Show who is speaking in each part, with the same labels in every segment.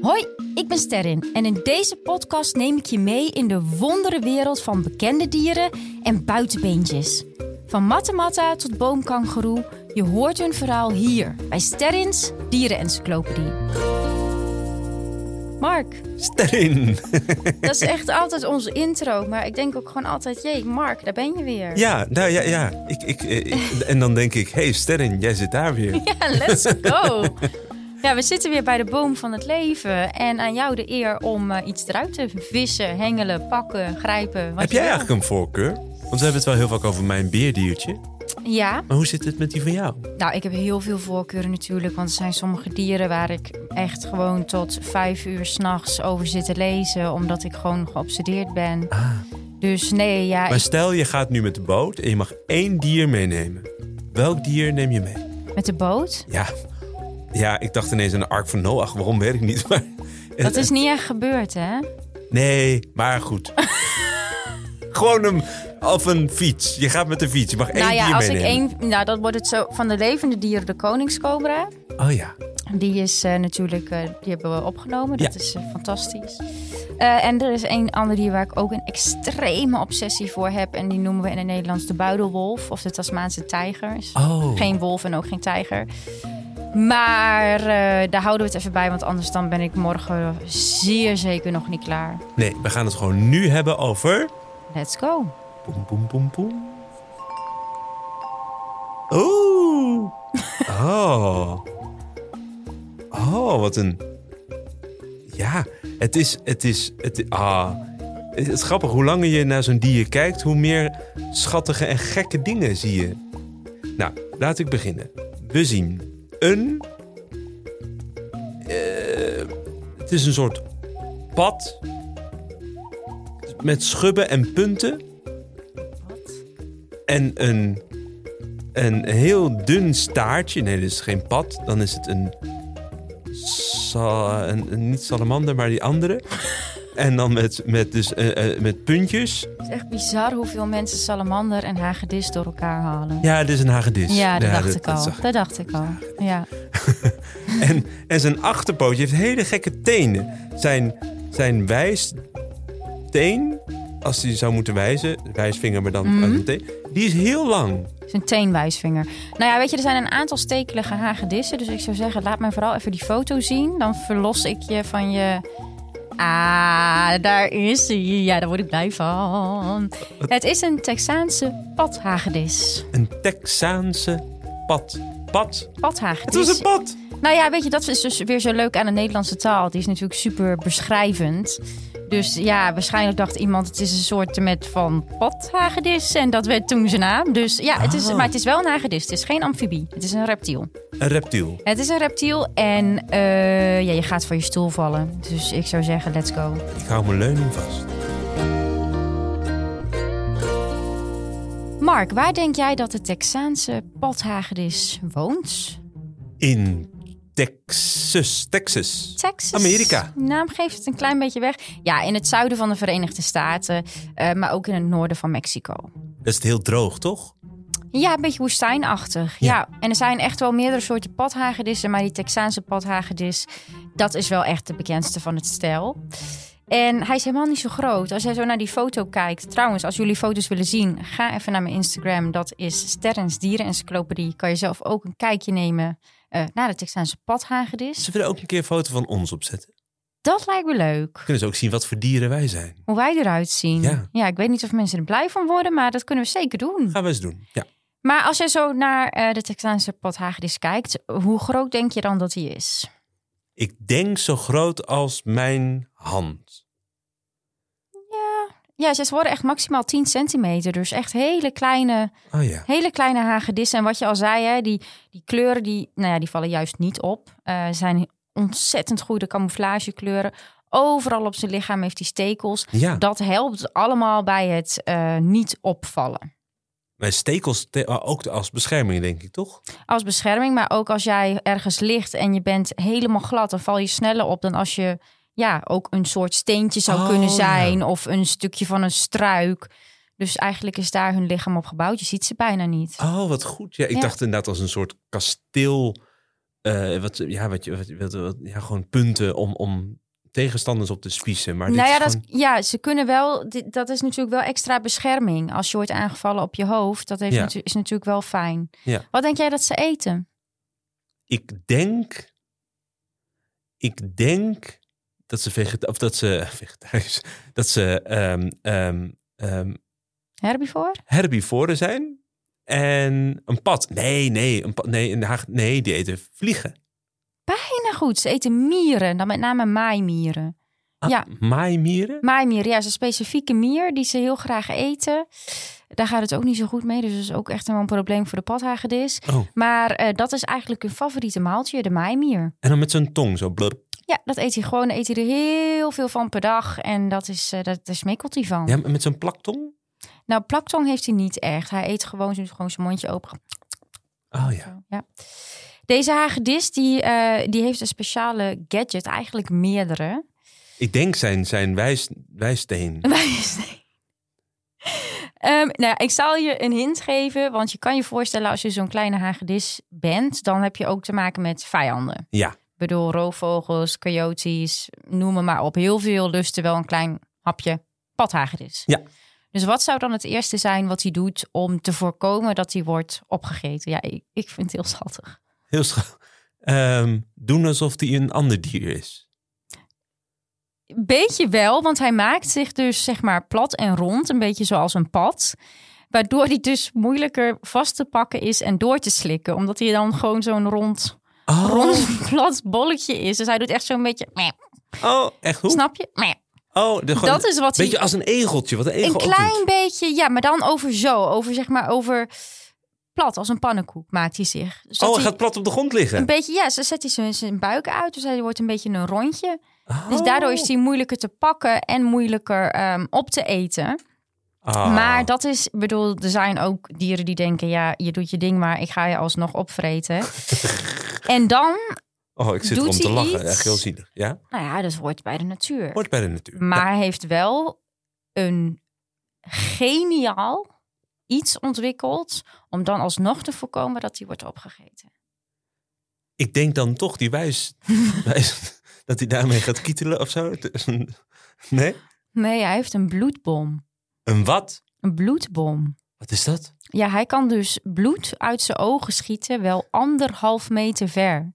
Speaker 1: Hoi, ik ben Sterrin en in deze podcast neem ik je mee in de wondere wereld van bekende dieren en buitenbeentjes. Van mattematta tot boomkangeroe, je hoort hun verhaal hier bij Sterrins Dierenencyclopedie. Mark,
Speaker 2: Sterrin.
Speaker 1: dat is echt altijd onze intro, maar ik denk ook gewoon altijd, jee Mark, daar ben je weer.
Speaker 2: Ja, nou ja, ja. Ik, ik, eh, ik- en dan denk ik, hey Sterrin, jij zit daar weer.
Speaker 1: Ja, let's go. Ja, we zitten weer bij de boom van het leven. En aan jou de eer om eh, iets eruit te vissen, hengelen, pakken, grijpen. wat
Speaker 2: Heb
Speaker 1: je
Speaker 2: jij
Speaker 1: wil.
Speaker 2: eigenlijk een voorkeur? Want we hebben het wel heel vaak over mijn beerdiertje.
Speaker 1: Ja,
Speaker 2: Maar hoe zit het met die van jou?
Speaker 1: nou, ik heb heel veel voorkeuren natuurlijk. Want er zijn sommige dieren waar ik echt gewoon tot vijf uur s'nachts over zit te lezen. Omdat ik gewoon geobsedeerd ben. Dus nee, ja,
Speaker 2: Ah. Maar stel, je gaat nu met de boot en je mag één dier meenemen. Welk dier neem je mee?
Speaker 1: ik- met de boot.
Speaker 2: Ja, ja ik dacht ineens aan de Ark van Noach. Waarom weet ik niet. Maar...
Speaker 1: Dat is niet echt gebeurd, hè?
Speaker 2: Nee, maar goed. Gewoon een... Of een fiets. Je gaat met de fiets. Je mag één
Speaker 1: nou ja,
Speaker 2: dier
Speaker 1: als ik
Speaker 2: meenemen.
Speaker 1: één. Nou, dat wordt het zo van de levende dieren, de koningscobra.
Speaker 2: Oh ja.
Speaker 1: Die is eh, natuurlijk, eh, die hebben we opgenomen. Dat
Speaker 2: Ja.
Speaker 1: is eh, fantastisch. Eh, en er is één ander dier waar ik ook een extreme obsessie voor heb. En die noemen we in het Nederlands de buidelwolf of de Tasmaanse tijger. Is
Speaker 2: Oh.
Speaker 1: Geen wolf en ook geen tijger. Maar eh, daar houden we het even bij, want anders dan ben ik morgen zeer zeker nog niet klaar.
Speaker 2: Nee, we gaan het gewoon nu hebben over...
Speaker 1: Let's go.
Speaker 2: Boem, boem, boem, boem. Oeh. Oh. Oh, wat een... Ja, het is... Het is... Het, ah. Het is grappig, hoe langer je naar zo'n dier kijkt... hoe meer schattige en gekke dingen zie je. Nou, laat ik beginnen. We zien een... eh, het is een soort pad... met schubben en punten... En een, een heel dun staartje. Nee, dit is geen pad. Dan is het een, sa- een, een- Niet salamander, maar die andere. en dan met, met, dus, eh, eh, met puntjes.
Speaker 1: Het is echt bizar hoeveel mensen salamander en hagedis door elkaar halen.
Speaker 2: Ja, dit is een hagedis.
Speaker 1: Ja, dat dacht ik
Speaker 2: dat
Speaker 1: al.
Speaker 2: zag ik.
Speaker 1: Dat dacht ik al. Ja.
Speaker 2: En, en zijn achterpootje heeft hele gekke tenen. Zijn, zijn wijsteen, als hij zou moeten wijzen, wijsvinger, maar dan
Speaker 1: Mhm.
Speaker 2: uit een teen, die is heel lang.
Speaker 1: Zijn teenwijsvinger. Nou ja, weet je, er zijn een aantal stekelige hagedissen. Dus ik zou zeggen, laat mij vooral even die foto zien. Dan verlos ik je van je... Ah, daar is hij. Ja, daar word ik blij van. Het is een Texaanse padhagedis.
Speaker 2: Een Texaanse pad. Pad? Het
Speaker 1: Padhagedis.
Speaker 2: was een pad!
Speaker 1: Nou ja, weet je, dat is dus weer zo leuk aan de Nederlandse taal. Die is natuurlijk super beschrijvend. Dus ja, waarschijnlijk dacht iemand, het is een soort met van padhagedis. En dat werd toen zijn naam. Dus ja, het is,
Speaker 2: Oh.
Speaker 1: maar het is wel een hagedis. Het is geen amfibie. Het is een reptiel.
Speaker 2: Een reptiel.
Speaker 1: Het is een reptiel en eh, ja, je gaat van je stoel vallen. Dus ik zou zeggen, let's go.
Speaker 2: Ik hou mijn leuning vast.
Speaker 1: Mark, waar denk jij dat de Texaanse padhagedis woont?
Speaker 2: In Texas. Texas.
Speaker 1: Texas.
Speaker 2: Amerika.
Speaker 1: Naam geeft het een klein beetje weg. Ja, in het zuiden van de Verenigde Staten, eh, maar ook in het noorden van Mexico.
Speaker 2: Dat is het heel droog, toch?
Speaker 1: Ja, een beetje woestijnachtig. Ja.
Speaker 2: Ja.
Speaker 1: en er zijn echt wel meerdere soorten padhagedissen, maar die Texaanse padhagedis, dat is wel echt de bekendste van het stel. En hij is helemaal niet zo groot. Als jij zo naar die foto kijkt, trouwens, als jullie foto's willen zien, ga even naar mijn Instagram. Dat is Sterrens Dierenencyclopedie. Kan je zelf ook een kijkje nemen eh, naar de Texaanse padhagedis.
Speaker 2: Ze willen ook een keer een foto van ons opzetten.
Speaker 1: Dat lijkt me leuk.
Speaker 2: Kunnen ze ook zien wat voor dieren wij zijn?
Speaker 1: Hoe wij eruit zien.
Speaker 2: Ja.
Speaker 1: ik weet niet of mensen er blij van worden, maar dat kunnen we zeker doen.
Speaker 2: Gaan we eens doen. Ja.
Speaker 1: Maar als je zo naar eh, de Texaanse padhagedis kijkt, hoe groot denk je dan dat die is?
Speaker 2: Ik denk zo groot als mijn hand.
Speaker 1: Ja, ze worden echt maximaal 10 centimeter. Dus echt hele kleine,
Speaker 2: Oh ja.
Speaker 1: hele kleine hagedissen. En wat je al zei, hè, die, die kleuren die, nou ja, die vallen juist niet op. Eh zijn ontzettend goede camouflagekleuren. Overal op zijn lichaam heeft hij stekels.
Speaker 2: Ja.
Speaker 1: Dat helpt allemaal bij het eh, niet opvallen.
Speaker 2: Mijn stekels te- ah, ook als bescherming, denk ik, toch?
Speaker 1: Als bescherming, maar ook als jij ergens ligt en je bent helemaal glad, dan val je sneller op dan als je ja, ook een soort steentje zou
Speaker 2: Oh,
Speaker 1: kunnen
Speaker 2: ja.
Speaker 1: zijn of een stukje van een struik. Dus eigenlijk is daar hun lichaam op gebouwd. Je ziet ze bijna niet.
Speaker 2: Oh, wat goed. Ja, ik
Speaker 1: Ja.
Speaker 2: dacht inderdaad als een soort kasteel eh, wat, ja, wat, je- wat, wat- wat- ja, gewoon punten om, om tegenstanders op te spiezen. Maar dit
Speaker 1: nou ja,
Speaker 2: is
Speaker 1: dat,
Speaker 2: gewoon-
Speaker 1: ja, ze kunnen wel. dit- Dat is natuurlijk wel extra bescherming. Als je wordt aangevallen op je hoofd, dat heeft
Speaker 2: Ja.
Speaker 1: natu- is natuurlijk wel fijn.
Speaker 2: Ja.
Speaker 1: Wat denk jij dat ze eten?
Speaker 2: ik denk. Ik denk dat ze vegeta- of dat ze vegetarisch, dat ze ehm, ehm, ehm,
Speaker 1: Herbivore?
Speaker 2: herbivoren zijn en een pad. Nee, nee, een pad. Nee, in Den Haag, nee, die eten vliegen.
Speaker 1: Nou goed, ze eten mieren, dan met name maaimieren. Ja.
Speaker 2: Ah, Maaimieren?
Speaker 1: Maaimieren, ja, is een specifieke mier die ze heel graag eten. Daar gaat het ook niet zo goed mee, dus dat is ook echt wel een probleem voor de padhagedis.
Speaker 2: Oh,
Speaker 1: Maar eh, dat is eigenlijk hun favoriete maaltje, de maaimier.
Speaker 2: en dan met zijn tong zo. blub.
Speaker 1: Ja, dat eet hij gewoon, eet hij er heel veel van per dag en dat is, eh, dat, daar smikkelt hij van.
Speaker 2: Ja, maar met zijn plaktong?
Speaker 1: Nou, plaktong heeft hij niet echt. Hij eet gewoon, doet gewoon zijn mondje open.
Speaker 2: Oh ja.
Speaker 1: Zo, ja. Deze hagedis, die, eh, die heeft een speciale gadget, eigenlijk meerdere.
Speaker 2: Ik denk zijn, zijn wijs, wijsteen.
Speaker 1: Wijsneus. Ehm, nou, ik zal je een hint geven, want je kan je voorstellen als je zo'n kleine hagedis bent, dan heb je ook te maken met vijanden.
Speaker 2: Ja.
Speaker 1: Ik bedoel, roofvogels, coyotes, noem maar, maar op. Heel veel lusten wel een klein hapje padhagedis.
Speaker 2: Ja.
Speaker 1: Dus wat zou dan het eerste zijn wat hij doet om te voorkomen dat hij wordt opgegeten? Ja, ik, ik vind het heel schattig.
Speaker 2: Heel scha- Ehm, doen alsof hij een ander dier is.
Speaker 1: Beetje wel, want hij maakt zich dus zeg maar plat en rond, een beetje zoals een pad. Waardoor hij dus moeilijker vast te pakken is en door te slikken. Omdat hij dan gewoon zo'n rond,
Speaker 2: Oh,
Speaker 1: rond plat bolletje is. Dus hij doet echt zo'n beetje, meh,
Speaker 2: oh echt hoe?
Speaker 1: snap je? Meh.
Speaker 2: Oh, de, gewoon,
Speaker 1: Dat is wat hij...
Speaker 2: beetje als een egeltje, wat een egel
Speaker 1: Een
Speaker 2: ook
Speaker 1: klein
Speaker 2: doet.
Speaker 1: beetje, ja, maar dan over zo. Over zeg maar, over plat, als een pannenkoek maakt hij zich. Dus dat
Speaker 2: Oh, hij
Speaker 1: hij
Speaker 2: gaat plat op de grond liggen.
Speaker 1: Een beetje, ja, ze zet hij zijn, zijn buik uit, dus hij wordt een beetje een rondje. Dus
Speaker 2: Oh.
Speaker 1: daardoor is hij moeilijker te pakken en moeilijker ehm, op te eten.
Speaker 2: Ah.
Speaker 1: Maar dat is, ik bedoel, er zijn ook dieren die denken, ja, je doet je ding, maar ik ga je alsnog opvreten. en dan,
Speaker 2: Oh, ik zit
Speaker 1: doet
Speaker 2: erom te
Speaker 1: hij
Speaker 2: lachen.
Speaker 1: iets?
Speaker 2: Echt heel zielig. Ja?
Speaker 1: nou ja, dat hoort bij de natuur.
Speaker 2: Hoort bij de natuur.
Speaker 1: Maar hij heeft wel een geniaal iets ontwikkeld om dan alsnog te voorkomen dat hij wordt opgegeten.
Speaker 2: Ik denk dan toch die wijs, wijs dat hij daarmee gaat kietelen of zo. Nee?
Speaker 1: Nee, hij heeft een bloedbom.
Speaker 2: Een wat?
Speaker 1: Een bloedbom.
Speaker 2: Wat is dat?
Speaker 1: Ja, hij kan dus bloed uit zijn ogen schieten, wel anderhalf meter ver.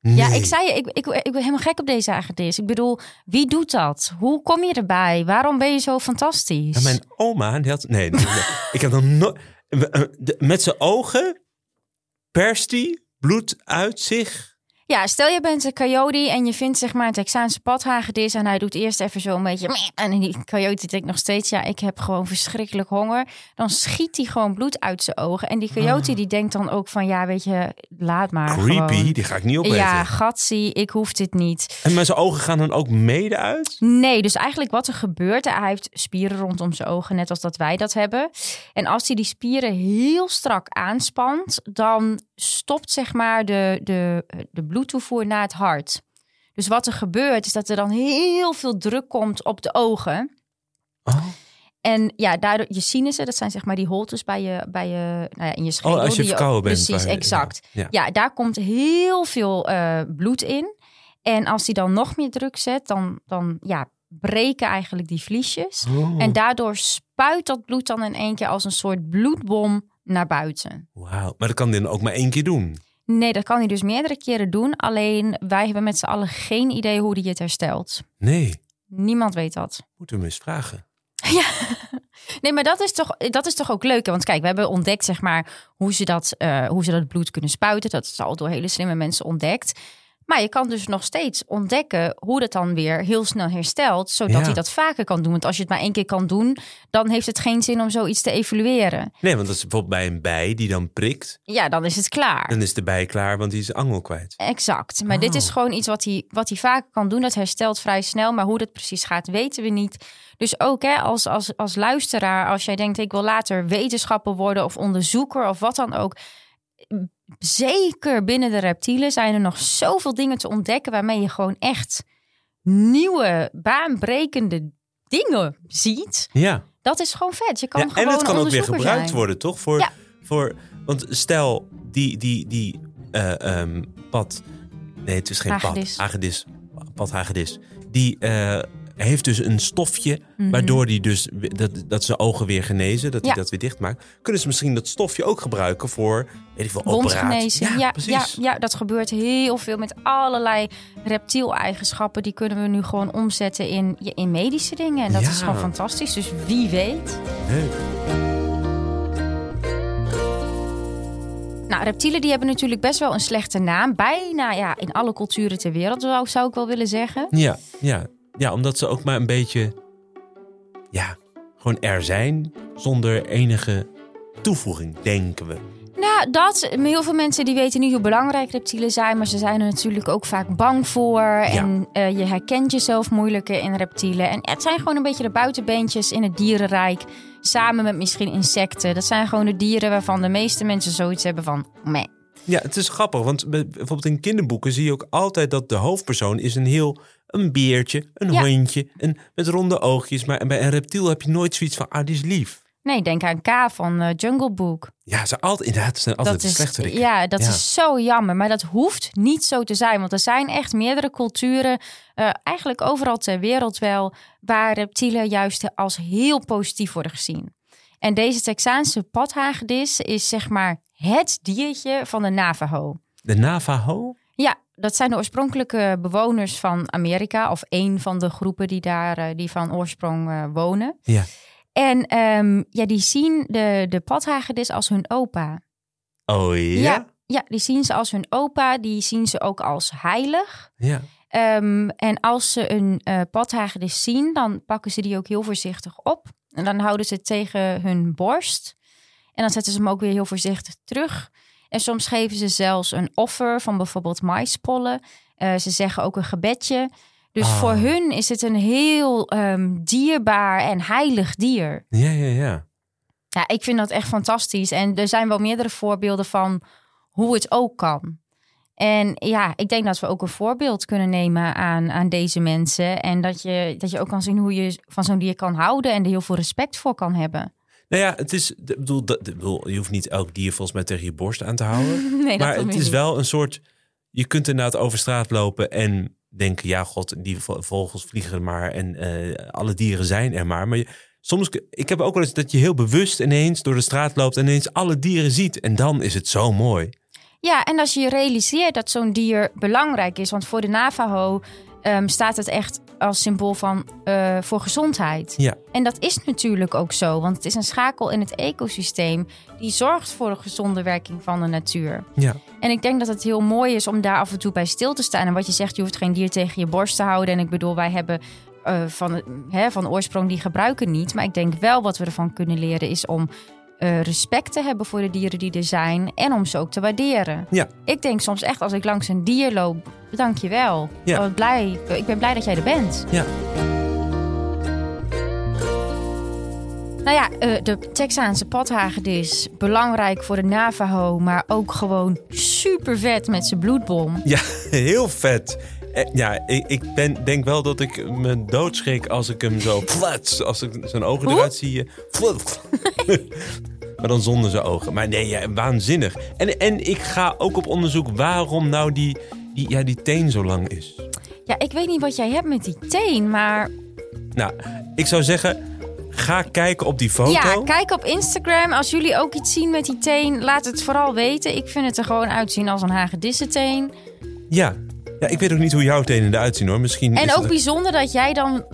Speaker 1: Ja,
Speaker 2: Nee.
Speaker 1: ik zei je, ik, ik, ik ben helemaal gek op deze hagedis. Ik bedoel, wie doet dat? Hoe kom je erbij? Waarom ben je zo fantastisch?
Speaker 2: Ja, mijn oma, die had... Nee, nee, nee. ik heb nog nooit... eh, de- Met zijn ogen perst hij bloed uit zich.
Speaker 1: Ja, stel je bent een coyote en je vindt zeg maar een Texaanse padhagedis en hij doet eerst even zo een beetje meh, en die coyote denkt nog steeds ja, ik heb gewoon verschrikkelijk honger. Dan schiet hij gewoon bloed uit zijn ogen en die coyote die denkt dan ook van ja, weet je, laat maar
Speaker 2: Ah. Creepy,
Speaker 1: gewoon.
Speaker 2: die ga ik niet opeten.
Speaker 1: Ja, gatsie, ik hoef dit niet.
Speaker 2: En maar zijn ogen gaan dan ook mede uit?
Speaker 1: Nee, dus eigenlijk wat er gebeurt, hij heeft spieren rondom zijn ogen, net als dat wij dat hebben. En als hij die spieren heel strak aanspant, dan stopt zeg maar de, de, de bloedtoevoer naar het hart. Dus wat er gebeurt, is dat er dan heel veel druk komt op de ogen.
Speaker 2: Oh,
Speaker 1: En ja, daardoor, je sinussen, dat zijn zeg maar die holtes bij je, bij je, nou ja, in je schedel.
Speaker 2: oh als je
Speaker 1: die
Speaker 2: verkouden bent.
Speaker 1: Precies,
Speaker 2: waar-
Speaker 1: exact.
Speaker 2: Ja. ja.
Speaker 1: Ja, daar komt heel veel eh, bloed in. En als die dan nog meer druk zet, dan, dan ja, breken eigenlijk die vliesjes.
Speaker 2: Oh,
Speaker 1: En daardoor spuit dat bloed dan in één keer als een soort bloedbom naar buiten.
Speaker 2: Wauw, maar dat kan hij dan ook maar één keer doen.
Speaker 1: Nee, dat kan hij dus meerdere keren doen. Alleen wij hebben met z'n allen geen idee hoe hij het herstelt.
Speaker 2: Nee,
Speaker 1: Niemand weet dat.
Speaker 2: moeten we hem eens vragen.
Speaker 1: Nee, maar dat is toch, dat is toch ook leuk. hè? Want kijk, we hebben ontdekt zeg maar, hoe, ze dat, eh, hoe ze dat bloed kunnen spuiten. Dat is al door hele slimme mensen ontdekt. Maar je kan dus nog steeds ontdekken hoe dat dan weer heel snel herstelt. Zodat
Speaker 2: Ja.
Speaker 1: hij dat vaker kan doen. Want als je het maar één keer kan doen, dan heeft het geen zin om zoiets te evalueren.
Speaker 2: Nee, want dat is bijvoorbeeld bij een bij die dan prikt.
Speaker 1: Ja, dan is het klaar.
Speaker 2: Dan is de bij klaar, want die is de angel kwijt.
Speaker 1: Exact. Maar dit is
Speaker 2: Oh.
Speaker 1: gewoon iets wat hij, wat hij vaker kan doen. Dat herstelt vrij snel. Maar hoe dat precies gaat, weten we niet. Dus ook hè, als, als, als luisteraar, als jij denkt: ik wil later wetenschapper worden of onderzoeker of wat dan ook. Zeker binnen de reptielen zijn er nog zoveel dingen te ontdekken waarmee je gewoon echt nieuwe, baanbrekende dingen ziet.
Speaker 2: Ja.
Speaker 1: Dat is gewoon vet. Je kan
Speaker 2: Ja,
Speaker 1: gewoon
Speaker 2: en het kan ook weer
Speaker 1: onderzoeker
Speaker 2: gebruikt
Speaker 1: zijn.
Speaker 2: worden, toch? Voor,
Speaker 1: Ja.
Speaker 2: voor, want stel, die, die, die eh, ehm, pad. Nee, het is geen
Speaker 1: Hagedis.
Speaker 2: pad. Hagedis. Pad hagedis. Die eh, heeft dus een stofje. Waardoor die dus we- dat, dat zijn ogen weer genezen. Dat
Speaker 1: Mhm.
Speaker 2: hij
Speaker 1: Ja.
Speaker 2: dat weer dicht maakt. Kunnen ze misschien dat stofje ook gebruiken voor. Weet ik veel, operaties.
Speaker 1: Wondgenezing. Ja, ja,
Speaker 2: precies.
Speaker 1: ja, dat gebeurt heel veel met allerlei reptieleigenschappen. Die kunnen we nu gewoon omzetten in, ja, in medische dingen. En dat
Speaker 2: Ja.
Speaker 1: is gewoon fantastisch. Dus wie weet.
Speaker 2: Leuk.
Speaker 1: Nou, reptielen die hebben natuurlijk best wel een slechte naam. Bijna ja, in alle culturen ter wereld zou, zou ik wel willen zeggen.
Speaker 2: Ja, ja. ja, omdat ze ook maar een beetje. Ja, gewoon er zijn zonder enige toevoeging, denken we.
Speaker 1: Nou, dat. maar Heel veel mensen die weten niet hoe belangrijk reptielen zijn. Maar ze zijn er natuurlijk ook vaak bang voor. En eh, je herkent jezelf moeilijker in reptielen. En het zijn gewoon een beetje de buitenbeentjes in het dierenrijk. Samen met misschien insecten. Dat zijn gewoon de dieren waarvan de meeste mensen zoiets hebben van... Meh.
Speaker 2: Ja, het is grappig, want bij- bijvoorbeeld in kinderboeken zie je ook altijd dat de hoofdpersoon is een heel. Een beertje, een
Speaker 1: Ja.
Speaker 2: hondje, een, met ronde oogjes. Maar bij een reptiel heb je nooit zoiets van, ah, die is lief.
Speaker 1: Nee, denk aan K van eh, Jungle Book.
Speaker 2: Ja, ze altijd, inderdaad, ze zijn altijd
Speaker 1: dat
Speaker 2: slechter.
Speaker 1: is, ja, dat
Speaker 2: Ja.
Speaker 1: is zo jammer. Maar dat hoeft niet zo te zijn. Want er zijn echt meerdere culturen, eh, eigenlijk overal ter wereld wel, waar reptielen juist als heel positief worden gezien. En deze Texaanse padhagedis is zeg maar het diertje van de Navajo.
Speaker 2: De Navajo?
Speaker 1: Ja, dat zijn de oorspronkelijke bewoners van Amerika. Of één van de groepen die daar eh, die van oorsprong eh, wonen.
Speaker 2: Ja.
Speaker 1: En ehm, ja, die zien de, de padhagedis als hun opa.
Speaker 2: Oh ja?
Speaker 1: Ja, ja, die zien ze als hun opa, die zien ze ook als heilig.
Speaker 2: Ja.
Speaker 1: Ehm, en als ze een eh padhagedis zien, dan pakken ze die ook heel voorzichtig op. En dan houden ze het tegen hun borst. En dan zetten ze hem ook weer heel voorzichtig terug. En soms geven ze zelfs een offer van bijvoorbeeld maispollen. Eh, ze zeggen ook een gebedje. Dus
Speaker 2: Ah.
Speaker 1: voor hun is het een heel ehm, dierbaar en heilig dier.
Speaker 2: Ja, ja, ja.
Speaker 1: Ja, ik vind dat echt fantastisch. En er zijn wel meerdere voorbeelden van hoe het ook kan. En ja, ik denk dat we ook een voorbeeld kunnen nemen aan, aan deze mensen. En dat je, dat je ook kan zien hoe je van zo'n dier kan houden en er heel veel respect voor kan hebben.
Speaker 2: Nou ja, het is, ik bedoel, dat- ik bedoel, je hoeft niet elk dier volgens mij tegen je borst aan te houden.
Speaker 1: Nee, dat
Speaker 2: maar
Speaker 1: wil
Speaker 2: het
Speaker 1: je
Speaker 2: is
Speaker 1: niet.
Speaker 2: wel een soort. Je kunt inderdaad over straat lopen en denken: ja, god, die vo- vogels vliegen er maar en eh, alle dieren zijn er maar. Maar je- soms, k- ik heb ook wel eens dat je heel bewust ineens door de straat loopt en ineens alle dieren ziet. En dan is het zo mooi.
Speaker 1: Ja, en als je je realiseert dat zo'n dier belangrijk is. Want voor de Navajo ehm, staat het echt als symbool van, eh, voor gezondheid.
Speaker 2: Ja,
Speaker 1: En dat is natuurlijk ook zo, want het is een schakel in het ecosysteem die zorgt voor een gezonde werking van de natuur.
Speaker 2: ja.
Speaker 1: En ik denk dat het heel mooi is om daar af en toe bij stil te staan. En wat je zegt, je hoeft geen dier tegen je borst te houden. En ik bedoel, wij hebben eh, van, hè, van oorsprong die gebruiken niet. Maar ik denk wel wat we ervan kunnen leren is om eh, respect te hebben voor de dieren die er zijn. En om ze ook te waarderen.
Speaker 2: Ja.
Speaker 1: Ik denk soms echt als ik langs een dier loop, dank je wel.
Speaker 2: Ja.
Speaker 1: Wat blij, ik ben blij dat jij er bent.
Speaker 2: Ja.
Speaker 1: Nou ja, eh, de Texaanse padhagedis, belangrijk voor de Navajo, maar ook gewoon super vet met zijn bloedbom.
Speaker 2: Ja, heel vet. Eh, Ja, ik, ik ben, denk wel dat ik me doodschrik als ik hem zo plats, als ik zijn ogen
Speaker 1: Hoe?
Speaker 2: eruit zie. eh, plat. maar dan zonder zijn ogen. Maar nee, ja, waanzinnig. En, en ik ga ook op onderzoek waarom nou die, die, ja, die teen zo lang is.
Speaker 1: Ja, ik weet niet wat jij hebt met die teen, maar
Speaker 2: Nou, ik zou zeggen, ga kijken op die foto.
Speaker 1: ja, kijk op Instagram. Als jullie ook iets zien met die teen, laat het vooral weten. Ik vind het er gewoon uitzien als een hagedissenteen.
Speaker 2: ja. ja, ik weet ook niet hoe jouw tenen eruit zien hoor. Misschien is
Speaker 1: En
Speaker 2: het
Speaker 1: ook
Speaker 2: een-
Speaker 1: bijzonder dat jij dan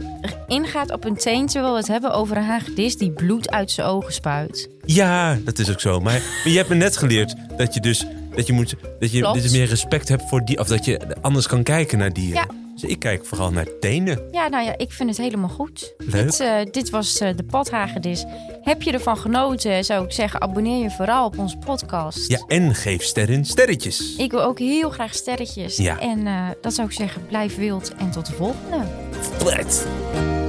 Speaker 1: ingaat op een teen terwijl we het hebben over een hagedis die bloed uit zijn ogen spuit.
Speaker 2: Ja, dat is ook zo. Maar, maar je hebt me net geleerd dat je dus dat je moet dat je
Speaker 1: Klopt.
Speaker 2: dit is meer respect hebt voor die of dat je anders kan kijken naar dieren.
Speaker 1: Ja.
Speaker 2: Dus ik kijk vooral naar tenen.
Speaker 1: Ja, nou ja, ik vind het helemaal goed.
Speaker 2: Leuk.
Speaker 1: Dit, eh, dit was eh, de Padhagedis. Heb je ervan genoten, zou ik zeggen, abonneer je vooral op onze podcast.
Speaker 2: Ja, en geef sterren sterretjes.
Speaker 1: Ik wil ook heel graag sterretjes.
Speaker 2: Ja.
Speaker 1: En eh, dat zou ik zeggen, blijf wild en tot de volgende.
Speaker 2: Plet.